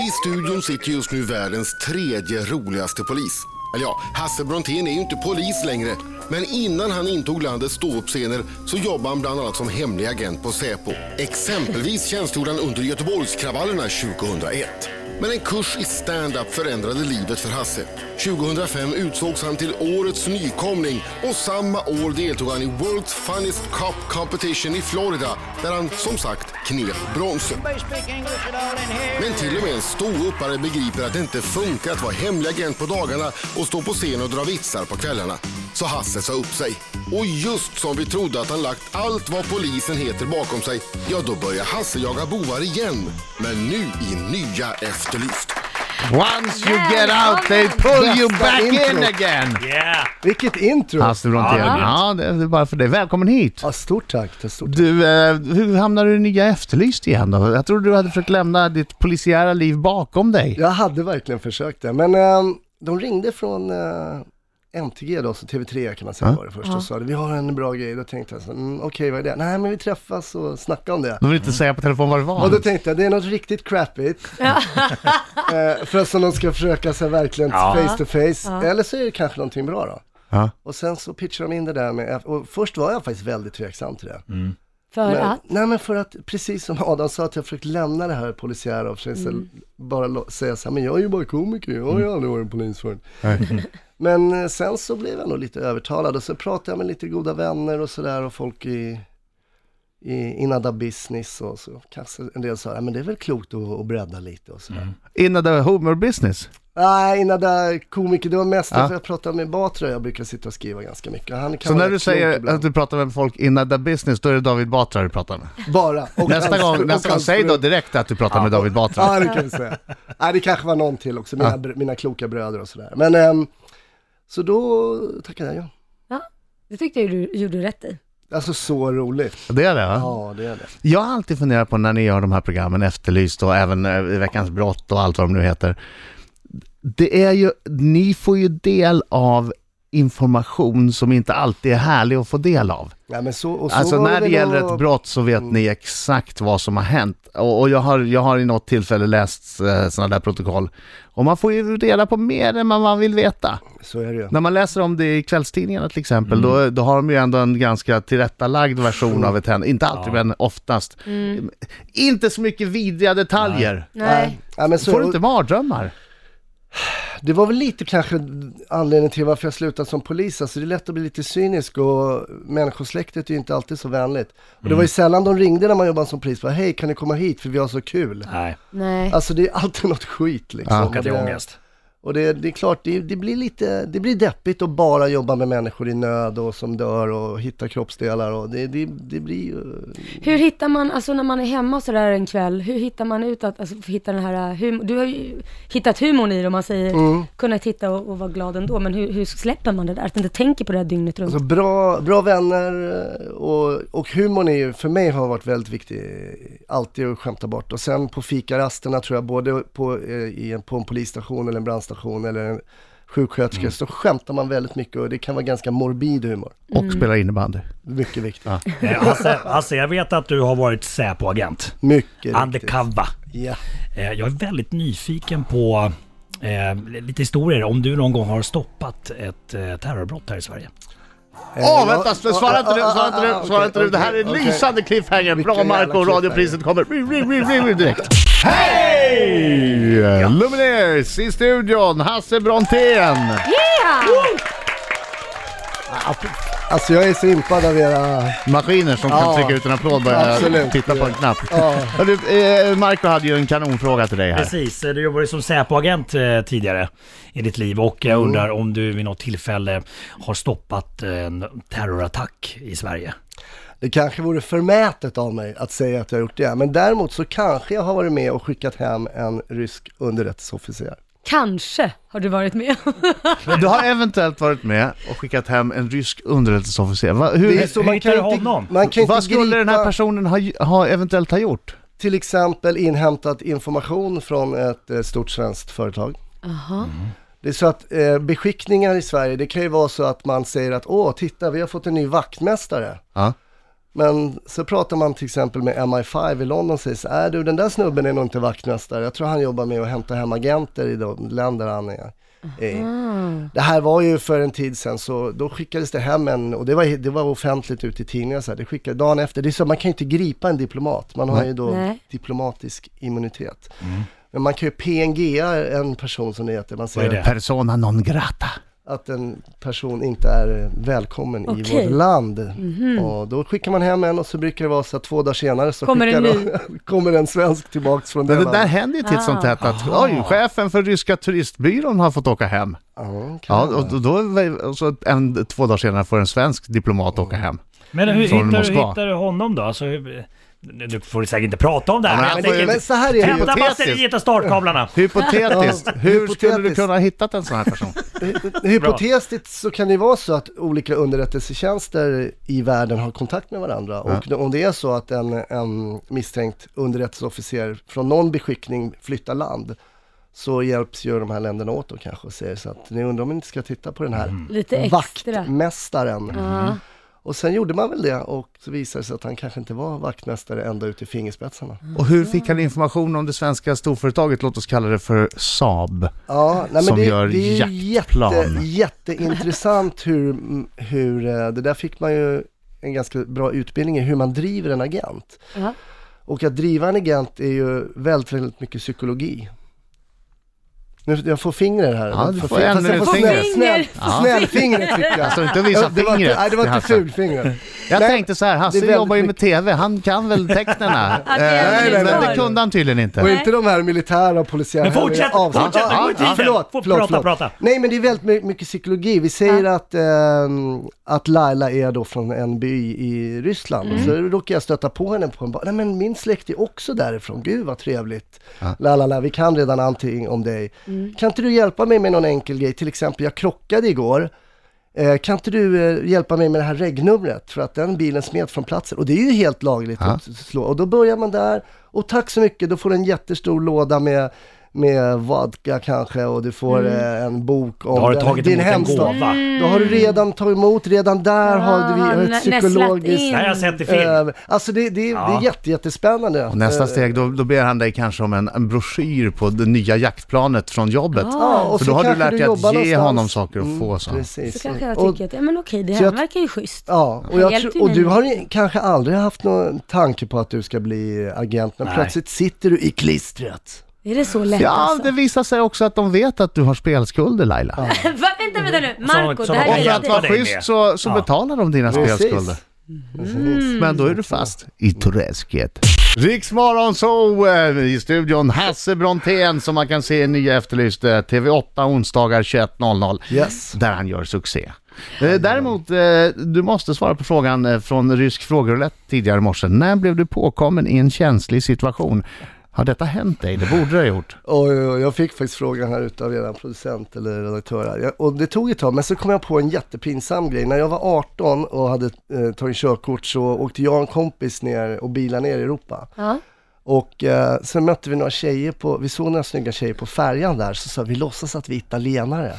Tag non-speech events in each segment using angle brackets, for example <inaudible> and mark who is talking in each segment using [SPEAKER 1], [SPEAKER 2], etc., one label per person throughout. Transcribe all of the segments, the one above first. [SPEAKER 1] I studion sitter just nu världens tredje roligaste polis. Eller ja, Hasse Brontén är ju inte polis längre. Men innan han intog landets ståuppscener så jobbade han bland annat som hemlig agent på Säpo. Exempelvis tjänstgjorde han under Göteborgskravallerna 2001. Men en kurs i stand-up förändrade livet för Hasse. 2005 utsågs han till årets nykomling och samma år deltog han i World's Funniest Cop Competition i Florida där han som sagt knep bronset. Men till och med en ståuppare begriper att det inte funkar att vara hemlig agent på dagarna och stå på scen och dra vitsar på kvällarna. Så Hasse sa upp sig. Och just som vi trodde att han lagt allt vad polisen heter bakom sig, ja då börjar Hasse jaga bovar igen. Men nu i nya Efterlyst.
[SPEAKER 2] Once you get out they pull you back in again!
[SPEAKER 3] Yeah!
[SPEAKER 4] Vilket intro!
[SPEAKER 2] Hasse Brontén.
[SPEAKER 3] Ja,
[SPEAKER 2] Ja, det är bara för det. Välkommen hit!
[SPEAKER 4] Ja, stort tack. Stort tack.
[SPEAKER 2] Du, eh, hur hamnade du i nya Efterlyst igen då? Jag trodde du hade försökt lämna ditt polisiära liv bakom dig.
[SPEAKER 4] Jag hade verkligen försökt det, men ehm, de ringde från eh, MTG då, så TV3 kan man säga var det först, och sa vi har en bra grej. Då tänkte jag så, mm, okej vad är det? Nej, men vi träffas och snackar om det.
[SPEAKER 2] De vill inte säga på telefon vad det var.
[SPEAKER 4] Och då tänkte jag, det är något riktigt crappigt. <laughs> eh, för att som de ska försöka så här, verkligen face to face. Eller så är det kanske någonting bra då.
[SPEAKER 2] Ja.
[SPEAKER 4] Och sen så pitchade de in det där med, och först var jag faktiskt väldigt tveksam till det.
[SPEAKER 5] För
[SPEAKER 4] Men,
[SPEAKER 5] att?
[SPEAKER 4] Nej men för att, precis som Adam sa, att jag försökt lämna det här polisiära och försökt
[SPEAKER 5] Mm.
[SPEAKER 4] bara lo- säga så här, men jag är ju bara komiker, jag har
[SPEAKER 2] Mm.
[SPEAKER 4] ju aldrig varit polis förut. <laughs> Men eh, sen så blev jag nog lite övertalad och så pratade jag med lite goda vänner och sådär och folk i, i innan the business och så kanske en del sa, ja men det är väl klokt att, att bredda lite och
[SPEAKER 2] Mm.
[SPEAKER 4] sådär.
[SPEAKER 2] Innan the humor business.
[SPEAKER 4] Nej, innan the komiker, det var mest
[SPEAKER 2] Ja.
[SPEAKER 4] för jag pratade med Batra, jag brukar sitta och skriva ganska mycket. Han kan
[SPEAKER 2] Så
[SPEAKER 4] vara
[SPEAKER 2] när du
[SPEAKER 4] rätt klok
[SPEAKER 2] säger
[SPEAKER 4] ibland.
[SPEAKER 2] att du pratar med folk innan the business, då är det David Batra du pratar med.
[SPEAKER 4] Bara. Och
[SPEAKER 2] Nästa
[SPEAKER 4] hans-
[SPEAKER 2] gång,
[SPEAKER 4] och
[SPEAKER 2] nästa gång
[SPEAKER 4] hans
[SPEAKER 2] säg
[SPEAKER 4] fru.
[SPEAKER 2] då direkt att du pratar med David Batra.
[SPEAKER 4] Ja, det kan vi säga. Nej, det kanske var någon till också, mina, br- mina kloka bröder och sådär. Men, ehm, så då tackade jag
[SPEAKER 5] Det tyckte jag du gjorde rätt i.
[SPEAKER 4] ja. Alltså så roligt.
[SPEAKER 2] Det är det va?
[SPEAKER 4] Ja, det är det.
[SPEAKER 2] Jag har alltid funderat på när ni gör de här programmen, Efterlyst och även eh, Veckans brott och allt vad de nu heter. Det är ju, ni får ju del av information som inte alltid är härlig att få del av.
[SPEAKER 4] Ja, men så, och så
[SPEAKER 2] Alltså
[SPEAKER 4] var
[SPEAKER 2] när det
[SPEAKER 4] väl Mm.
[SPEAKER 2] gäller
[SPEAKER 4] och-
[SPEAKER 2] ett brott så vet ni exakt vad som har hänt. Och, och jag, har, jag har i något tillfälle läst eh, sådana där protokoll. Och man får ju reda på mer än vad man vill veta.
[SPEAKER 4] Så är det ju.
[SPEAKER 2] När man läser om det i kvällstidningarna till exempel,
[SPEAKER 4] Mm.
[SPEAKER 2] då, då har de ju ändå en ganska tillrättalagd version av ett händelse. Inte alltid, men oftast. Inte så mycket vidriga detaljer.
[SPEAKER 5] Nej.
[SPEAKER 4] Ja, men så,
[SPEAKER 2] Får du inte mardrömmar?
[SPEAKER 4] Det var väl lite kanske anledningen till varför jag slutade som polis. Alltså det är lätt att bli lite cynisk och människosläktet är ju inte alltid så vänligt. Och
[SPEAKER 2] Mm.
[SPEAKER 4] det var ju sällan de ringde när man jobbade som polis. Bara, Hej, kan ni komma hit för vi har så kul.
[SPEAKER 3] Nej,
[SPEAKER 5] Nej.
[SPEAKER 4] <laughs> Alltså det är alltid något skit liksom.
[SPEAKER 2] Ja.
[SPEAKER 4] Och
[SPEAKER 3] kan det
[SPEAKER 4] det-
[SPEAKER 3] är ångest.
[SPEAKER 4] Och det, det är klart, det, det blir lite, det blir deppigt att bara jobba med människor i nöd och som dör och hitta kroppsdelar och det, det, det blir ju...
[SPEAKER 5] Hur hittar man, alltså när man är hemma och sådär en kväll, hur hittar man ut att, alltså för att hitta den här, hum- du har ju hittat humorn i det om man säger,
[SPEAKER 4] Mm.
[SPEAKER 5] kunnat hitta och, och vara glad ändå, men hur, hur släpper man det där? Att inte tänka på det här dygnet runt.
[SPEAKER 4] Alltså bra, bra vänner eh, och, och humorn är ju, för mig har varit väldigt viktig, alltid att skämta bort. Och sen på fikarasterna tror jag, både på, eh, i en, på en polisstation eller en brandstation eller en sjuksköterska, så skämtar man väldigt mycket och det kan vara ganska morbid humor.
[SPEAKER 2] Och spelar innebandy.
[SPEAKER 4] Mycket viktigt.
[SPEAKER 3] Eh, Hasse, Hasse, jag vet att du har varit Säpo-agent.
[SPEAKER 4] Mycket viktigt.
[SPEAKER 3] Undercover.
[SPEAKER 4] Ja.
[SPEAKER 3] Eh, Jag är väldigt nyfiken på eh, lite historier om du någon gång har stoppat ett eh, terrorbrott här i Sverige.
[SPEAKER 2] Åh,
[SPEAKER 4] Eh,
[SPEAKER 2] vänta!
[SPEAKER 4] jag-
[SPEAKER 2] Svara inte nu,
[SPEAKER 4] ah, ah,
[SPEAKER 2] svara inte
[SPEAKER 4] ah, ah,
[SPEAKER 2] nu, svara
[SPEAKER 4] okej,
[SPEAKER 2] inte nu. Det här är en
[SPEAKER 4] okej,
[SPEAKER 2] lysande cliffhanger.
[SPEAKER 4] Vilken
[SPEAKER 2] Bra Marco,
[SPEAKER 4] jävla
[SPEAKER 2] radiopriset kommer. Ri, ri, ri, ri, direkt. Hej! Lumineers i studion, Hasse Brontén.
[SPEAKER 4] Alltså jag är så impad av era...
[SPEAKER 2] maskiner som kan
[SPEAKER 4] Ja,
[SPEAKER 2] trycka ut en applåd bara jag
[SPEAKER 4] absolut.
[SPEAKER 2] tittar på en knapp.
[SPEAKER 4] Ja.
[SPEAKER 2] Hörru, eh, Marco hade ju en kanonfråga till dig här.
[SPEAKER 3] Precis, eh, du jobbade som Säpo-agent eh, tidigare i ditt liv och
[SPEAKER 2] Mm.
[SPEAKER 3] jag undrar om du vid något tillfälle har stoppat eh, en terrorattack i Sverige.
[SPEAKER 4] Det kanske vore förmätet av mig att säga att jag har gjort det, men däremot så kanske jag har varit med och skickat hem en rysk underrättelseofficer.
[SPEAKER 5] Kanske har du varit med.
[SPEAKER 2] Du har eventuellt varit med och skickat hem en rysk underrättelseofficer. Va, hur,
[SPEAKER 4] Det är så
[SPEAKER 3] hur
[SPEAKER 4] man kan
[SPEAKER 3] hittar du
[SPEAKER 4] inte,
[SPEAKER 3] honom?
[SPEAKER 4] man kan
[SPEAKER 2] vad
[SPEAKER 4] inte
[SPEAKER 2] skulle
[SPEAKER 4] gripa,
[SPEAKER 2] den här personen ha, ha eventuellt ha gjort?
[SPEAKER 4] till exempel inhämtat information från ett eh, stort svenskt företag. Mm.
[SPEAKER 5] Jaha.
[SPEAKER 4] Det är så att eh, beskickningar i Sverige, det kan ju vara så att man säger att åh, titta vi har fått en ny vaktmästare.
[SPEAKER 2] Ja.
[SPEAKER 4] Men så pratar man till exempel med MI5 i London och säger så här, "Äh, du den där snubben är nog inte vaktmästare. Jag tror han jobbar med att hämta hem agenter i de länder han är i. Det här var ju för en tid sedan, så då skickades det hem en, och det var, det var offentligt ute i tidningar så här, det skickade dagen efter. Det är så, man kan ju inte gripa en diplomat, man har ju då
[SPEAKER 5] Nej.
[SPEAKER 4] diplomatisk immunitet. Men man kan ju PNGa en person som det heter, man
[SPEAKER 3] Mm. Vad är
[SPEAKER 4] säger
[SPEAKER 3] det?
[SPEAKER 2] Persona non grata.
[SPEAKER 4] att en person inte är eh, välkommen i
[SPEAKER 5] Okej. Mhm.
[SPEAKER 4] vårt land. Och då skickar man hem en och så brukar det vara så att två dagar senare så
[SPEAKER 5] Kommer
[SPEAKER 4] skickar
[SPEAKER 5] en
[SPEAKER 4] <laughs> kommer en svensk tillbaks från det,
[SPEAKER 2] Men det där
[SPEAKER 4] landet.
[SPEAKER 2] händer ju titt som
[SPEAKER 5] Ah.
[SPEAKER 2] tätt att oj, chefen för ryska turistbyrån har fått åka hem.
[SPEAKER 4] Ja, kan
[SPEAKER 2] Ja,
[SPEAKER 4] det vara.
[SPEAKER 2] och då och så en, två dagar senare får en svensk diplomat åka hem.
[SPEAKER 3] Men hur
[SPEAKER 2] Från
[SPEAKER 3] hittar du,
[SPEAKER 2] Moskva.
[SPEAKER 3] hittar du honom då? Alltså, hur- nu får du säkert inte prata om det här.
[SPEAKER 2] Ja, men han
[SPEAKER 3] men jag
[SPEAKER 2] får ju-
[SPEAKER 3] tänker-
[SPEAKER 4] Men så här är det ju.
[SPEAKER 3] Hämta
[SPEAKER 2] hypotetiskt.
[SPEAKER 3] batteriet och startkablarna.
[SPEAKER 2] Hypotetiskt,
[SPEAKER 4] Ja,
[SPEAKER 2] hur skulle du
[SPEAKER 4] hypotetiskt.
[SPEAKER 2] kunna ha hittat en sån här person?
[SPEAKER 4] Hypotetiskt så kan det ju vara så att olika underrättelsetjänster i världen har kontakt med varandra. Och om det är så att en, en misstänkt underrättelseofficer från någon beskickning flyttar land så hjälps ju de här länderna åt då kanske och säger så att ni undrar om ni inte ska titta på den här
[SPEAKER 2] Mm.
[SPEAKER 5] Lite extra.
[SPEAKER 4] vaktmästaren. Mm.
[SPEAKER 5] Ja.
[SPEAKER 4] Och sen gjorde man väl det och så visade det sig att han kanske inte var vaktmästare ända ut i fingerspetsarna.
[SPEAKER 5] Mm.
[SPEAKER 2] Och hur fick
[SPEAKER 4] Mm.
[SPEAKER 2] han information om det svenska storföretaget, låt oss kalla det för Saab?
[SPEAKER 4] Ja, nej, men
[SPEAKER 2] Som
[SPEAKER 4] det,
[SPEAKER 2] gör
[SPEAKER 4] det är ju
[SPEAKER 2] jaktplan.
[SPEAKER 4] jätte, jätteintressant hur, hur, eh, det där fick man ju en ganska bra utbildning i hur man driver en agent.
[SPEAKER 5] Ja.
[SPEAKER 4] Och att driva en agent är ju väldigt, väldigt mycket psykologi. Nu, jag får fingrar här.
[SPEAKER 2] Ja,
[SPEAKER 4] Jag
[SPEAKER 2] du får
[SPEAKER 4] fingrar.
[SPEAKER 2] ännu
[SPEAKER 4] Fast jag
[SPEAKER 2] ett finger.
[SPEAKER 4] snäll- snäll-
[SPEAKER 5] Ja.
[SPEAKER 4] Snällfingret fick jag.
[SPEAKER 2] Alltså inte
[SPEAKER 4] Ja,
[SPEAKER 2] visa
[SPEAKER 4] det var inte,
[SPEAKER 2] fingret.
[SPEAKER 4] nej, det var inte
[SPEAKER 2] Hasse.
[SPEAKER 4] fulfingret.
[SPEAKER 2] Jag
[SPEAKER 4] Nej,
[SPEAKER 2] tänkte så här,
[SPEAKER 4] det
[SPEAKER 2] Hasse
[SPEAKER 4] är väldigt
[SPEAKER 2] jobbar ju med TV, han kan väl tecknena?
[SPEAKER 4] <laughs>
[SPEAKER 2] Eh,
[SPEAKER 5] Ja, det är
[SPEAKER 4] Nej, nej,
[SPEAKER 2] men
[SPEAKER 4] nej.
[SPEAKER 2] det kunde han tydligen inte.
[SPEAKER 4] Och inte de här militära och polisiära
[SPEAKER 3] Men fortsätt,
[SPEAKER 4] avsnitt.
[SPEAKER 3] fortsätt, det går i tiden.
[SPEAKER 4] förlåt,
[SPEAKER 3] Få
[SPEAKER 4] förlåt,
[SPEAKER 3] prata,
[SPEAKER 4] förlåt.
[SPEAKER 3] prata.
[SPEAKER 4] Nej men det är väldigt my- mycket psykologi. Vi säger att, ehm, att Laila är då från en by i Ryssland. Så råkar jag stöta på henne på en bar. Nej men min släkt är också därifrån. Gud vad trevligt. La, la, la, vi kan redan allting om dig. Kan inte du hjälpa mig med någon enkel grej? Till exempel, jag krockade igår. Eh, Kan inte du eh, hjälpa mig med det här regnumret för att den bilen smet från platsen och det är ju helt lagligt att slå. Och då börjar man där och tack så mycket, då får du en jättestor låda med, med vodka kanske och du får eh, en bok om
[SPEAKER 3] Mm. Då har du
[SPEAKER 4] den-
[SPEAKER 3] tagit
[SPEAKER 4] din
[SPEAKER 3] emot en
[SPEAKER 4] hemstad.
[SPEAKER 3] gåva.
[SPEAKER 4] Då har du redan tagit emot, redan där har
[SPEAKER 5] Ah,
[SPEAKER 4] du vi-
[SPEAKER 5] nä-
[SPEAKER 4] ett
[SPEAKER 5] nästlat
[SPEAKER 4] psykologiskt...
[SPEAKER 5] in.
[SPEAKER 3] Det här har jag sett i film.
[SPEAKER 4] Eh, alltså det, det, det
[SPEAKER 3] Ja.
[SPEAKER 4] är jätte, jättespännande.
[SPEAKER 2] Och nästa
[SPEAKER 4] Eh,
[SPEAKER 2] steg, då, då ber han dig kanske om en, en broschyr på det nya jaktplanet från jobbet.
[SPEAKER 4] Ja, och
[SPEAKER 2] För
[SPEAKER 4] så
[SPEAKER 2] då har du
[SPEAKER 4] kanske
[SPEAKER 2] lärt dig att ge
[SPEAKER 4] jobbar någonstans. Mm,
[SPEAKER 2] honom saker och få så.
[SPEAKER 4] Precis.
[SPEAKER 5] Så kanske jag
[SPEAKER 4] Och-
[SPEAKER 5] tycker att, ja men okej, det
[SPEAKER 4] Så
[SPEAKER 5] här
[SPEAKER 4] jag-
[SPEAKER 5] verkar ju schysst.
[SPEAKER 4] Ja, och,
[SPEAKER 5] Han
[SPEAKER 4] jag
[SPEAKER 5] hjälpte
[SPEAKER 4] tror,
[SPEAKER 5] ju
[SPEAKER 4] och
[SPEAKER 5] mig
[SPEAKER 4] du
[SPEAKER 5] med
[SPEAKER 4] har ju kanske aldrig haft någon tanke på att du ska bli agent, men
[SPEAKER 3] Nej.
[SPEAKER 4] plötsligt sitter du i klistret.
[SPEAKER 5] Är det så lätt
[SPEAKER 2] Ja,
[SPEAKER 5] alltså?
[SPEAKER 2] det visar sig också att de vet att du har spelskulder Laila.
[SPEAKER 5] Va, <laughs> vänta, vänta nu. Marco,
[SPEAKER 3] så
[SPEAKER 5] det
[SPEAKER 3] var
[SPEAKER 5] här
[SPEAKER 2] Och
[SPEAKER 5] är
[SPEAKER 2] för
[SPEAKER 3] det
[SPEAKER 2] att
[SPEAKER 5] jätte...
[SPEAKER 2] vara
[SPEAKER 3] hjälpa dig
[SPEAKER 2] schysst
[SPEAKER 3] med.
[SPEAKER 2] så, så
[SPEAKER 3] Ja.
[SPEAKER 2] betalar de dina spelskulder.
[SPEAKER 4] Precis. Mm-hmm.
[SPEAKER 2] Men då är du fast i träsket. Riksmorgon så eh, i studion Hasse Brontén som man kan se i nya Efterlyst eh, TV8 onsdagar 21.00.
[SPEAKER 4] Yes.
[SPEAKER 2] Där han gör succé. Eh, Däremot, eh, du måste svara på frågan eh, från Rysk frågeroulette tidigare i morse. När blev du påkommen i en känslig situation? Har detta hänt dig? Det borde det ha gjort.
[SPEAKER 4] Och eh, jag fick faktiskt frågan här utav er producent eller redaktör här. Jag- Och det tog ett tag, men så kom jag på en jättepinsam grej. När jag var 18 och hade eh, tagit körkort så åkte jag och en kompis ner och bilade ner i Europa.
[SPEAKER 5] Ja.
[SPEAKER 4] Och eh, sen mötte vi några tjejer på, vi såg några snygga tjejer på färjan där, så sa vi låtsas att vi är italienare.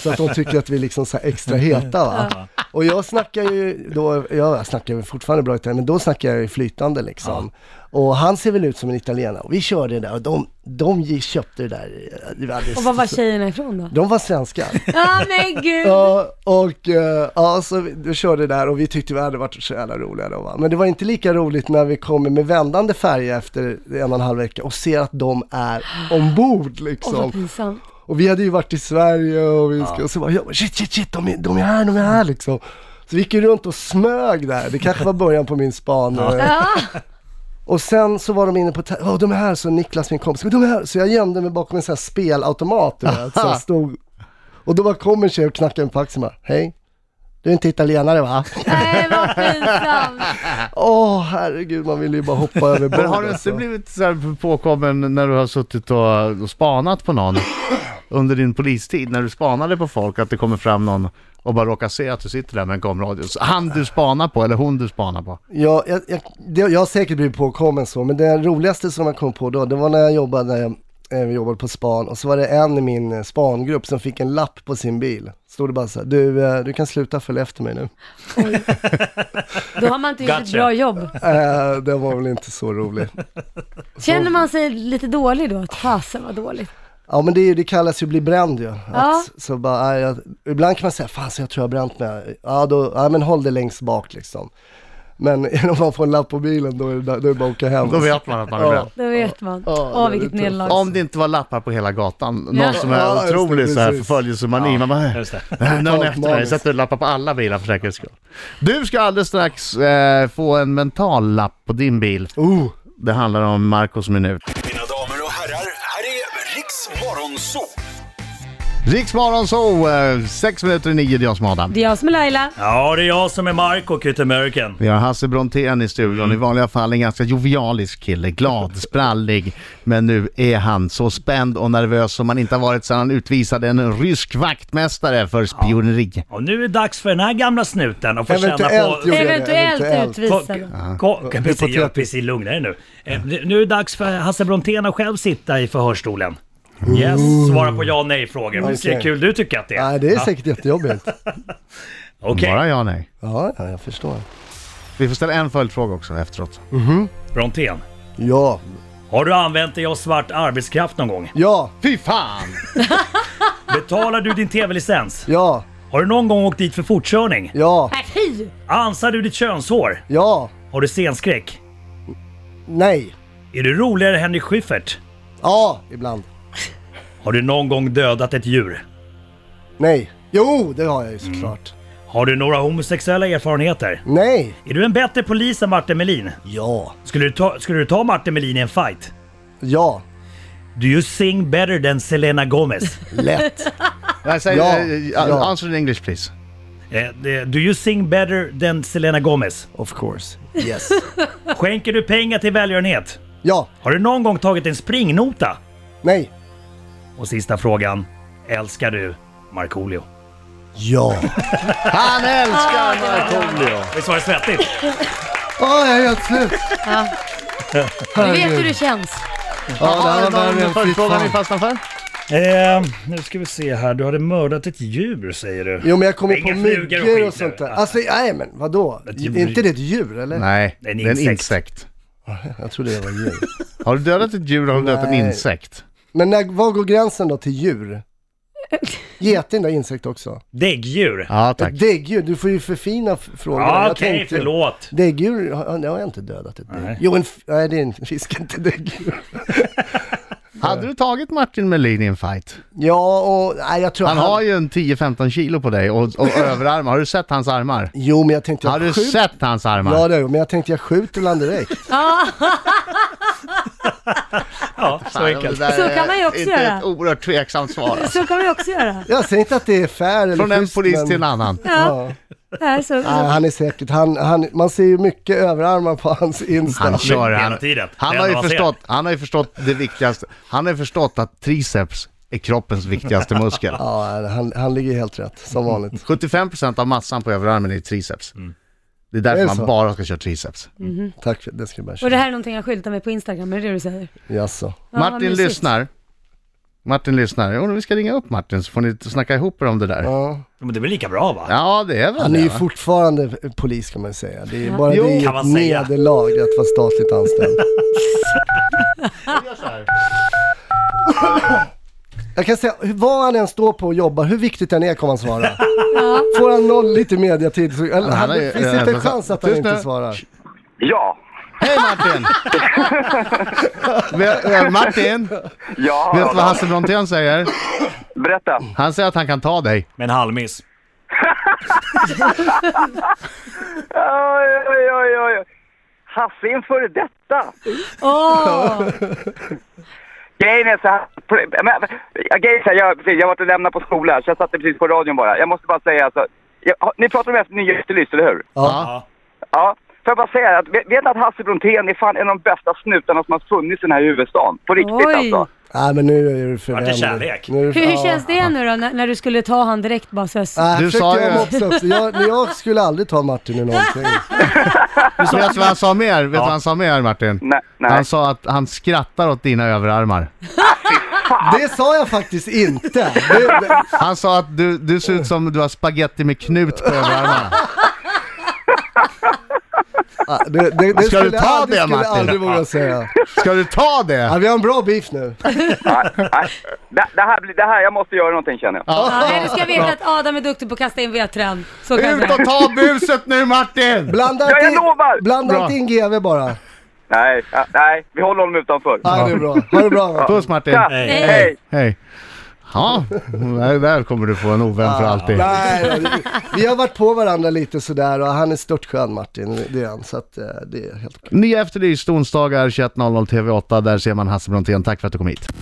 [SPEAKER 4] så att de tycker att vi är liksom så här extra heta va. Och jag snackar ju då, jag snackar ju fortfarande bra italienska, men då snackar jag ju flytande liksom. Och han ser väl ut som en italienare. Och vi körde det där och de, de gi- köpte det där. eh, Det var alldeles-
[SPEAKER 5] Och var var tjejerna ifrån
[SPEAKER 4] <laughs>
[SPEAKER 5] då?
[SPEAKER 4] De var svenskar.
[SPEAKER 5] Ja men gud!
[SPEAKER 4] Ja, och eh, ja, så vi, vi körde där och vi tyckte vi hade varit så jävla roliga då va. Men det var inte lika roligt när vi kommer med vändande färja efter en och en halv vecka och ser att de är ombord
[SPEAKER 5] Åh vad
[SPEAKER 4] liksom.
[SPEAKER 5] pinsamt.
[SPEAKER 4] Och vi hade ju varit i Sverige och vi ska, och så bara, jag bara, shit, shit, shit, de är, de är här, de är här liksom. Så vi gick ju runt och smög där, det kanske var början på min span. eh,
[SPEAKER 5] Ja,
[SPEAKER 4] och sen så var de inne på, oh, de är här, så Niklas min kompis, "Men de är här. Så jag gömde mig bakom en sån här spelautomat, du vet, som stod. Och då bara kom en tjej och knackade mig på axeln och bara, hej, du är inte italienare
[SPEAKER 2] <laughs>
[SPEAKER 4] va?
[SPEAKER 5] nej vad pinsamt.
[SPEAKER 4] Åh herregud, man ville ju bara hoppa över
[SPEAKER 2] Men har du
[SPEAKER 4] bordet.
[SPEAKER 2] inte
[SPEAKER 4] Alltså.
[SPEAKER 2] blivit så här påkommen när du har suttit och, och spanat på någon under din polistid? När du spanade på folk, att det kommer fram någon och bara råkar se att du sitter där med en kameradio. Så Han du spanar på, eller hon du spanar på.
[SPEAKER 4] Jag, jag, jag, det, jag har säkert blivit påkommen så, men det roligaste som jag kom på då, det var när jag jobbade eh, vi jobbade på span och så var det en i min eh, spangrupp som fick en lapp på sin bil. Stod det bara så här, du, eh, du kan sluta följa efter mig nu. <laughs>
[SPEAKER 5] Då har man inte gjort ett
[SPEAKER 3] Gotcha.
[SPEAKER 5] bra jobb.
[SPEAKER 4] Eh, det var väl inte så roligt.
[SPEAKER 5] Känner man sig lite dålig då? Att fasen vad dåligt.
[SPEAKER 4] Ja men det, är ju- det kallas ju bli bränd ju. Att,
[SPEAKER 5] Ja.
[SPEAKER 4] så bara, nej, jag, ibland kan man säga, fan så jag tror jag har bränt mig. Ja, då, ja men håll det längst bak liksom. Men <laughs> om man får en lapp på bilen då är det, då är det bara att åka hem.
[SPEAKER 2] Då vet man att man är
[SPEAKER 4] Ja.
[SPEAKER 2] bränd.
[SPEAKER 5] Då vet man.
[SPEAKER 4] Ja,
[SPEAKER 5] Åh,
[SPEAKER 4] det är
[SPEAKER 5] vilket
[SPEAKER 4] lite
[SPEAKER 5] nederlag.
[SPEAKER 2] Om det inte var lappar på hela gatan. Någon
[SPEAKER 5] Ja.
[SPEAKER 2] som är
[SPEAKER 4] Ja, just det,
[SPEAKER 2] otrolig så här
[SPEAKER 4] precis.
[SPEAKER 2] förföljelsemani. Man bara,
[SPEAKER 3] Just det.
[SPEAKER 2] "Äh, någon
[SPEAKER 4] Totalt
[SPEAKER 2] efter mig.
[SPEAKER 4] maniskt.
[SPEAKER 2] Sätter lappar på alla bilar för säkerhets skull. Du ska alldeles strax eh, få en mental lapp på din bil.
[SPEAKER 4] Oh,
[SPEAKER 2] Det handlar om Marcos minut.
[SPEAKER 6] Mina damer och herrar, här är Riks Morgonzoo!
[SPEAKER 2] Riksmorgon så, eh, sex minuter i nio, det är jag som är Adam.
[SPEAKER 5] Det är jag som är Laila.
[SPEAKER 3] Ja, det är jag som är Marco Cut American.
[SPEAKER 2] Vi har Hasse Brontén i studion,
[SPEAKER 4] Mm.
[SPEAKER 2] i vanliga fall en ganska jovialisk kille,
[SPEAKER 4] <laughs>
[SPEAKER 2] glad, sprallig. Men nu är han så spänd och nervös som han inte har varit sedan han utvisade en rysk vaktmästare för spioneri.
[SPEAKER 3] Och nu är det dags för den här gamla snuten att få känna på...
[SPEAKER 4] Eventuellt gjorde jag det,
[SPEAKER 5] Eventuellt
[SPEAKER 4] eventuellt.
[SPEAKER 5] utvisad.
[SPEAKER 3] Ko- ko- precis, ja,
[SPEAKER 4] Hypotetiskt.
[SPEAKER 3] precis, lugna dig nu. Eh, det- Nu är det dags för Hasse Brontén att själv sitta i förhörsstolen. Yes, svara på ja och nej-frågor. Vi ser hur
[SPEAKER 4] Okej.
[SPEAKER 3] kul du tycker att det är.
[SPEAKER 4] nej det är säkert jättejobbigt.
[SPEAKER 3] Okej,
[SPEAKER 2] Bara ja nej.
[SPEAKER 4] Ja, ja, jag förstår.
[SPEAKER 2] Vi får ställa en följdfråga också efteråt.
[SPEAKER 4] Mm.
[SPEAKER 3] Brontén.
[SPEAKER 4] Ja,
[SPEAKER 3] Har du använt dig av svart arbetskraft någon gång?
[SPEAKER 4] ja,
[SPEAKER 2] Fy
[SPEAKER 4] <laughs>
[SPEAKER 2] fan!
[SPEAKER 3] Betalar du din tv-licens?
[SPEAKER 4] ja,
[SPEAKER 3] Har du någon gång åkt dit för fortkörning?
[SPEAKER 4] ja,
[SPEAKER 5] Nej, fy!
[SPEAKER 3] Ansar du ditt könshår?
[SPEAKER 4] ja,
[SPEAKER 3] Har du scenskräck?
[SPEAKER 4] nej,
[SPEAKER 3] Är du roligare än Henrik Schyffert?
[SPEAKER 4] ja, ibland,
[SPEAKER 3] Har du någon gång dödat ett djur?
[SPEAKER 4] nej. Jo, det har jag ju såklart.
[SPEAKER 3] Har du några homosexuella erfarenheter?
[SPEAKER 4] Nej,
[SPEAKER 3] Är du en bättre polis än Martin Melin?
[SPEAKER 4] ja,
[SPEAKER 3] Skulle du ta, skulle du ta Martin Melin i en fight?
[SPEAKER 4] ja,
[SPEAKER 3] Do you sing better than
[SPEAKER 2] <laughs>
[SPEAKER 3] Selena Gomez?
[SPEAKER 4] lätt.
[SPEAKER 2] Jag säger,
[SPEAKER 4] Ja,
[SPEAKER 2] eh,
[SPEAKER 4] ja.
[SPEAKER 2] Answer in English please.
[SPEAKER 3] Eh, det- Do you sing better than Selena Gomez?
[SPEAKER 4] <laughs> Of course. Yes.
[SPEAKER 3] Skänker du pengar till välgörenhet?
[SPEAKER 4] Ja,
[SPEAKER 3] Har du någon gång tagit en springnota?
[SPEAKER 4] nej,
[SPEAKER 3] Och sista frågan. Älskar du Markoolio?
[SPEAKER 4] ja.
[SPEAKER 2] Han
[SPEAKER 4] Ah,
[SPEAKER 2] älskar Markoolio!
[SPEAKER 3] Visst var det svettigt?
[SPEAKER 4] Åh, jag är helt slut.
[SPEAKER 5] Du vet hur det känns.
[SPEAKER 4] Ja, Ah, det här var
[SPEAKER 2] Har du
[SPEAKER 4] värre
[SPEAKER 2] någon
[SPEAKER 4] än fy
[SPEAKER 2] följdfråga ni
[SPEAKER 4] fan.
[SPEAKER 2] fastnar för? Ehm,
[SPEAKER 3] Eh, nu ska vi se här. Du hade mördat ett djur säger du.
[SPEAKER 4] Jo men jag kommer
[SPEAKER 3] Inga
[SPEAKER 4] på
[SPEAKER 3] flugor och skit
[SPEAKER 4] myggor och
[SPEAKER 3] nu.
[SPEAKER 4] sånt där. Alltså nej men vadå?
[SPEAKER 3] Ett djur.
[SPEAKER 4] Är inte det ett djur eller?
[SPEAKER 2] Nej, det
[SPEAKER 3] Det är
[SPEAKER 2] är
[SPEAKER 3] en
[SPEAKER 2] en
[SPEAKER 3] insekt.
[SPEAKER 2] insekt.
[SPEAKER 4] Jag trodde det var djur.
[SPEAKER 2] Har du dödat ett djur har du dödat en
[SPEAKER 4] Nej.
[SPEAKER 2] insekt.
[SPEAKER 4] Men när, var går gränsen då till <laughs> djur? Geting där insekt också.
[SPEAKER 3] Däggdjur?
[SPEAKER 2] Ja tack.
[SPEAKER 4] Ett däggdjur, du får ju förfina f- frågorna.
[SPEAKER 3] Ja,
[SPEAKER 4] Jag
[SPEAKER 3] okej,
[SPEAKER 4] tänkte-
[SPEAKER 3] förlåt.
[SPEAKER 4] Däggdjur, har, nej, har jag inte dödat ett däggdjur? Jo, en, f- nej det är en fisk, inte däggdjur.
[SPEAKER 2] Hade du tagit Martin Melin i en fight?
[SPEAKER 4] Ja, och nej jag tror
[SPEAKER 2] Han har ju en 10-15 kilo på dig och, och överarmar. Har du sett hans armar?
[SPEAKER 4] Jo, men jag tänkte
[SPEAKER 2] Har
[SPEAKER 4] jag
[SPEAKER 2] du
[SPEAKER 4] skjuter.
[SPEAKER 2] sett hans armar?
[SPEAKER 4] Ja, det har jag, men jag tänkte jag skjuter väl han direkt.
[SPEAKER 2] <laughs>
[SPEAKER 3] Ja, så enkelt.
[SPEAKER 2] där
[SPEAKER 5] Så kan man ju också
[SPEAKER 2] inte
[SPEAKER 5] göra.
[SPEAKER 2] ett oerhört tveksamt svar.
[SPEAKER 5] Så kan man ju också göra.
[SPEAKER 4] Jag säger inte att det är fair eller
[SPEAKER 2] Från en
[SPEAKER 4] schysst,
[SPEAKER 2] polis
[SPEAKER 4] men-
[SPEAKER 2] till en annan.
[SPEAKER 5] Ja. Det här är så.
[SPEAKER 4] Nej, han är säkert, han, han, man ser ju mycket överarmar på hans Insta.
[SPEAKER 2] Han kör
[SPEAKER 3] hela
[SPEAKER 2] han.
[SPEAKER 3] tiden.
[SPEAKER 2] Han
[SPEAKER 3] Det
[SPEAKER 2] har, ju
[SPEAKER 3] enda man ser.
[SPEAKER 2] förstått, han har ju förstått det viktigaste. Han har ju förstått att triceps är kroppens viktigaste muskel.
[SPEAKER 4] Ja, han, han ligger helt rätt, som vanligt.
[SPEAKER 2] 75% av massan på överarmen är triceps.
[SPEAKER 3] Mm.
[SPEAKER 2] Det är därför
[SPEAKER 4] Är det
[SPEAKER 2] man
[SPEAKER 4] så?
[SPEAKER 2] bara ska köra triceps.
[SPEAKER 4] Tack, för- det ska jag bara
[SPEAKER 5] Och
[SPEAKER 4] köra.
[SPEAKER 5] det här är någonting jag skyltar med på Instagram, är det det du säger?
[SPEAKER 4] Jaså.
[SPEAKER 5] Ja, vad
[SPEAKER 2] Martin
[SPEAKER 5] mysigt.
[SPEAKER 2] lyssnar. Martin lyssnar. Jo, vi ska ringa upp Martin så får ni snacka ihop er om det där.
[SPEAKER 4] Ja.
[SPEAKER 3] Men det blir lika bra va?
[SPEAKER 2] Ja, det är väl
[SPEAKER 4] Han är
[SPEAKER 2] det.
[SPEAKER 4] ju
[SPEAKER 2] va?
[SPEAKER 4] fortfarande polis kan man säga. Det är bara
[SPEAKER 2] Jo.
[SPEAKER 4] det är
[SPEAKER 3] Kan
[SPEAKER 4] ett
[SPEAKER 3] man säga.
[SPEAKER 4] nederlag att vara statligt anställd. Jag kan säga, hur- vad han än står på och jobbar, hur viktigt den är kommer han svara. Får han noll lite mediatid så eller,
[SPEAKER 2] han
[SPEAKER 4] han,
[SPEAKER 2] är-
[SPEAKER 4] det finns
[SPEAKER 2] eh,
[SPEAKER 4] inte en
[SPEAKER 2] alltså,
[SPEAKER 4] chans att han
[SPEAKER 2] tyst
[SPEAKER 4] inte
[SPEAKER 2] nu.
[SPEAKER 4] svarar.
[SPEAKER 7] Ja,
[SPEAKER 2] Hej
[SPEAKER 4] <laughs>
[SPEAKER 2] Martin! Vi- eh, Martin,
[SPEAKER 7] ja,
[SPEAKER 2] vet
[SPEAKER 7] ja,
[SPEAKER 2] du vad
[SPEAKER 7] ja.
[SPEAKER 2] Hasse Brontén säger?
[SPEAKER 7] berätta.
[SPEAKER 2] Han säger att han kan ta dig.
[SPEAKER 3] Med en halvmiss.
[SPEAKER 7] Oj, oj, oj, oj. Hasse är en före detta.
[SPEAKER 5] Åh!
[SPEAKER 7] Grejen är så här, men, ja, grejen är så här jag, precis, jag har varit och lämnat på skolan, så jag satte precis på radion bara. Jag måste bara säga alltså, jag, har- ni pratar om efter nya Efterlyst, eller hur?
[SPEAKER 2] Ja.
[SPEAKER 7] Ja. Får jag bara säga att, vet vet ni att Hasse Brontén är fan en av de bästa snutarna som har funnits i den här huvudstaden? På riktigt
[SPEAKER 5] Oj.
[SPEAKER 7] alltså.
[SPEAKER 4] Nej men nu är du för
[SPEAKER 3] Vart det
[SPEAKER 4] vänlig.
[SPEAKER 3] kärlek?
[SPEAKER 4] Nu är du för-
[SPEAKER 5] Hur, hur
[SPEAKER 4] ja.
[SPEAKER 5] känns det nu då, när, när du skulle ta han direkt bara så här, s-
[SPEAKER 4] Nej,
[SPEAKER 2] Du
[SPEAKER 4] försökte
[SPEAKER 2] sa
[SPEAKER 4] jag
[SPEAKER 2] ju-
[SPEAKER 4] mopsa upp. Jag, men jag skulle aldrig ta Martin i någonting.
[SPEAKER 2] Vet du vad han sa mer? Vet du vad han sa mer Martin?
[SPEAKER 7] Nej, nej.
[SPEAKER 2] Han sa att han skrattar åt dina överarmar.
[SPEAKER 7] fan!
[SPEAKER 4] Det sa jag faktiskt inte. Det, det,
[SPEAKER 2] Han sa att du, du ser ut som du har spaghetti med knut på överarmarna.
[SPEAKER 4] ah, det, det, det
[SPEAKER 2] Ska du
[SPEAKER 4] skulle
[SPEAKER 2] ta
[SPEAKER 4] jag-
[SPEAKER 2] det,
[SPEAKER 4] skulle jag
[SPEAKER 2] Martin?
[SPEAKER 4] aldrig våga säga.
[SPEAKER 2] Ska du ta
[SPEAKER 4] Ja,
[SPEAKER 2] det?
[SPEAKER 4] vi har en bra beef nu.
[SPEAKER 7] Nej, nej. Det, det, här, blir- det här, jag måste göra någonting känner jag.
[SPEAKER 5] Ja, nej, du ska veta att Adam är duktig på att kasta in vedträn. Så kan
[SPEAKER 2] Ut och
[SPEAKER 5] det
[SPEAKER 2] ta buset nu Martin!
[SPEAKER 4] Blanda
[SPEAKER 7] Ja, jag
[SPEAKER 4] inte in-
[SPEAKER 7] lovar!
[SPEAKER 4] Blanda
[SPEAKER 2] Bra.
[SPEAKER 4] inte in GV bara.
[SPEAKER 7] Nej, ja, nej, vi håller honom utanför.
[SPEAKER 4] Ja, det är bra. Ha det bra. va?
[SPEAKER 2] Puss Martin!
[SPEAKER 7] Tja,
[SPEAKER 3] Hej.
[SPEAKER 7] hej.
[SPEAKER 2] Hej! Ja, där, där kommer du få en ovän för alltid.
[SPEAKER 4] Nej, vi- vi har varit på varandra lite sådär och han är störtskön Martin, det är han. Så att eh, det är helt okej.
[SPEAKER 2] Nya Efterlyst onsdagar 21.00 TV8. Där ser man Hasse Brontén. Tack för att du kom hit.